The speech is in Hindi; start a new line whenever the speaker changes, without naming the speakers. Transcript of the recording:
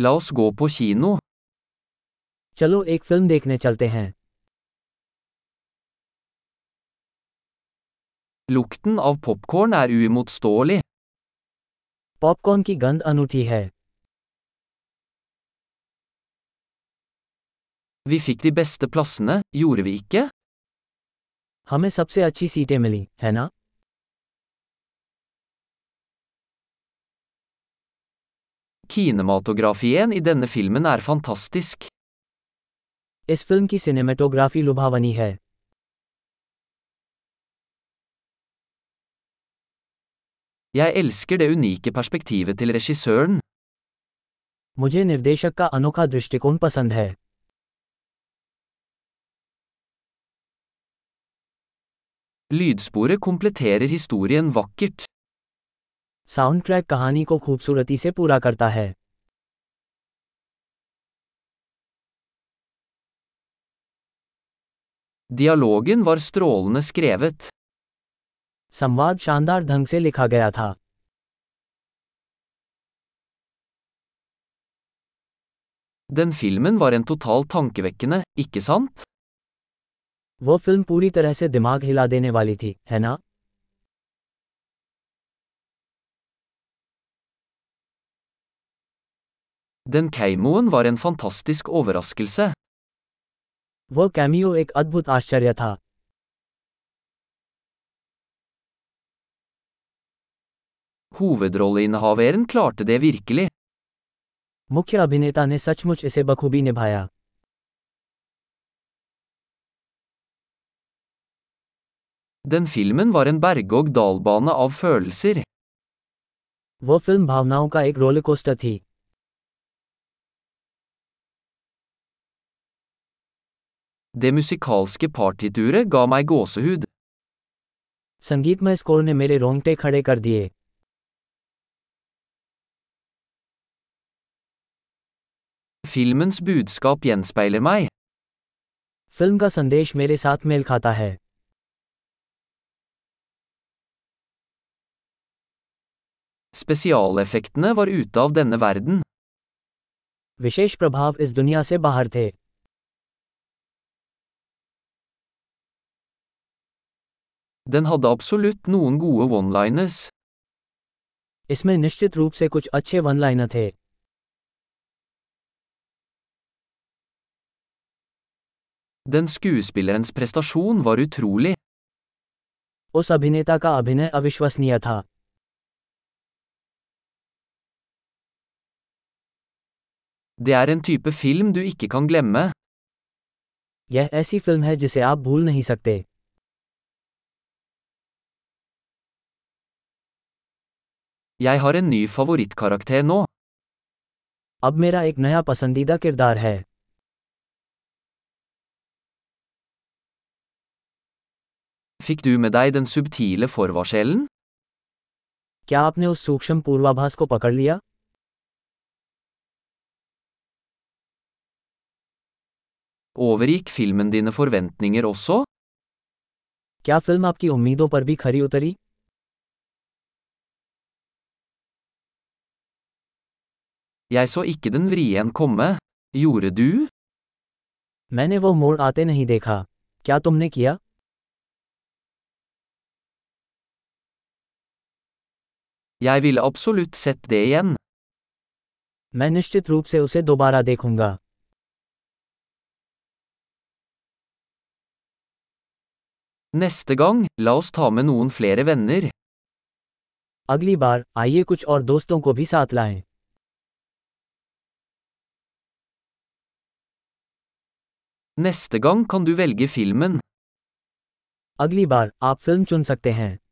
La oss gå på kino.
चलो एक फिल्म देखने चलते हैं
Lukten av popkorn er uimotståelig.
Popcorn की गंध अनूठी है
Vi fikk de beste plassene, gjorde vi ikke?
हमें सबसे अच्छी सीटें मिली है ना
Kinematografien i denne filmen er fantastisk.
इस फिल्म की सिनेमेटोग्राफी लुभावनी है
Jeg elsker det unike perspektivet til regissøren.
मुझे निर्देशक का अनोखा दृष्टिकोण पसंद है
Lydsporet kompletterer historien vakkert.
Sound track कहानी को खूबसूरती से पूरा करता है
Dialogen var strålende skrevet.
संवाद शानदार ढंग से लिखा गया था
Den filmen var en total tankevekkende, ikke sant?
वो फिल्म पूरी तरह से दिमाग हिला देने वाली थी है ना
Den keimoen var en fantastisk overraskelse.
वो कैमियो एक अद्भुत आश्चर्य था
Hovedrolleinnehaveren klarte det virkelig.
मुख्य अभिनेता ने सचमुच इसे बखूबी निभाया
Den filmen var en berg-og-dal-bane av følelser.
वो फिल्म भावनाओं का एक रोलकोस्टर थी
Det musikalske partituret ga meg gåsehud.
संगीतमय स्कोर ने मेरे रोंगटे खड़े कर दिए
Filmens budskap gjenspeiler meg.
Film का संदेश मेरे साथ मेल खाता है
Spesialeffektene var ute av denne verden.
विशेष प्रभाव इस दुनिया से बाहर थे
Den hadde absolutt noen gode one-liners.
इसमें निश्चित रूप से कुछ अच्छे वन लाइनर थे
Den skuespillerens prestasjon var utrolig.
उस अभिनेता का अभिनय अविश्वसनीय था
Det er en type film du ikke kan glemme.
यह ऐसी फिल्म है जिसे आप भूल नहीं सकते
Jeg har en ny favorittkarakter nå.
अब मेरा एक नया पसंदीदा किरदार है
Fikk du med deg den subtile forvarselen?
क्या आपने उस सूक्ष्म पूर्वाभास को पकड़ लिया
Overgikk filmen dine forventninger også?
क्या फिल्म आपकी उम्मीदों पर भी खरी उतरी
Jeg så ikke den vrien komme. Gjorde du?
मैंने वो मोड़ आते नहीं देखा क्या तुमने किया
Jeg ville absolutt sett det igjen.
मैं निश्चित रूप से उसे दोबारा देखूंगा
Neste gang, la oss ta med noen flere venner.
अगली बार आइए कुछ और दोस्तों को भी साथ लाएं
Neste gang kan du velge filmen.
अगली बार आप फिल्म चुन सकते हैं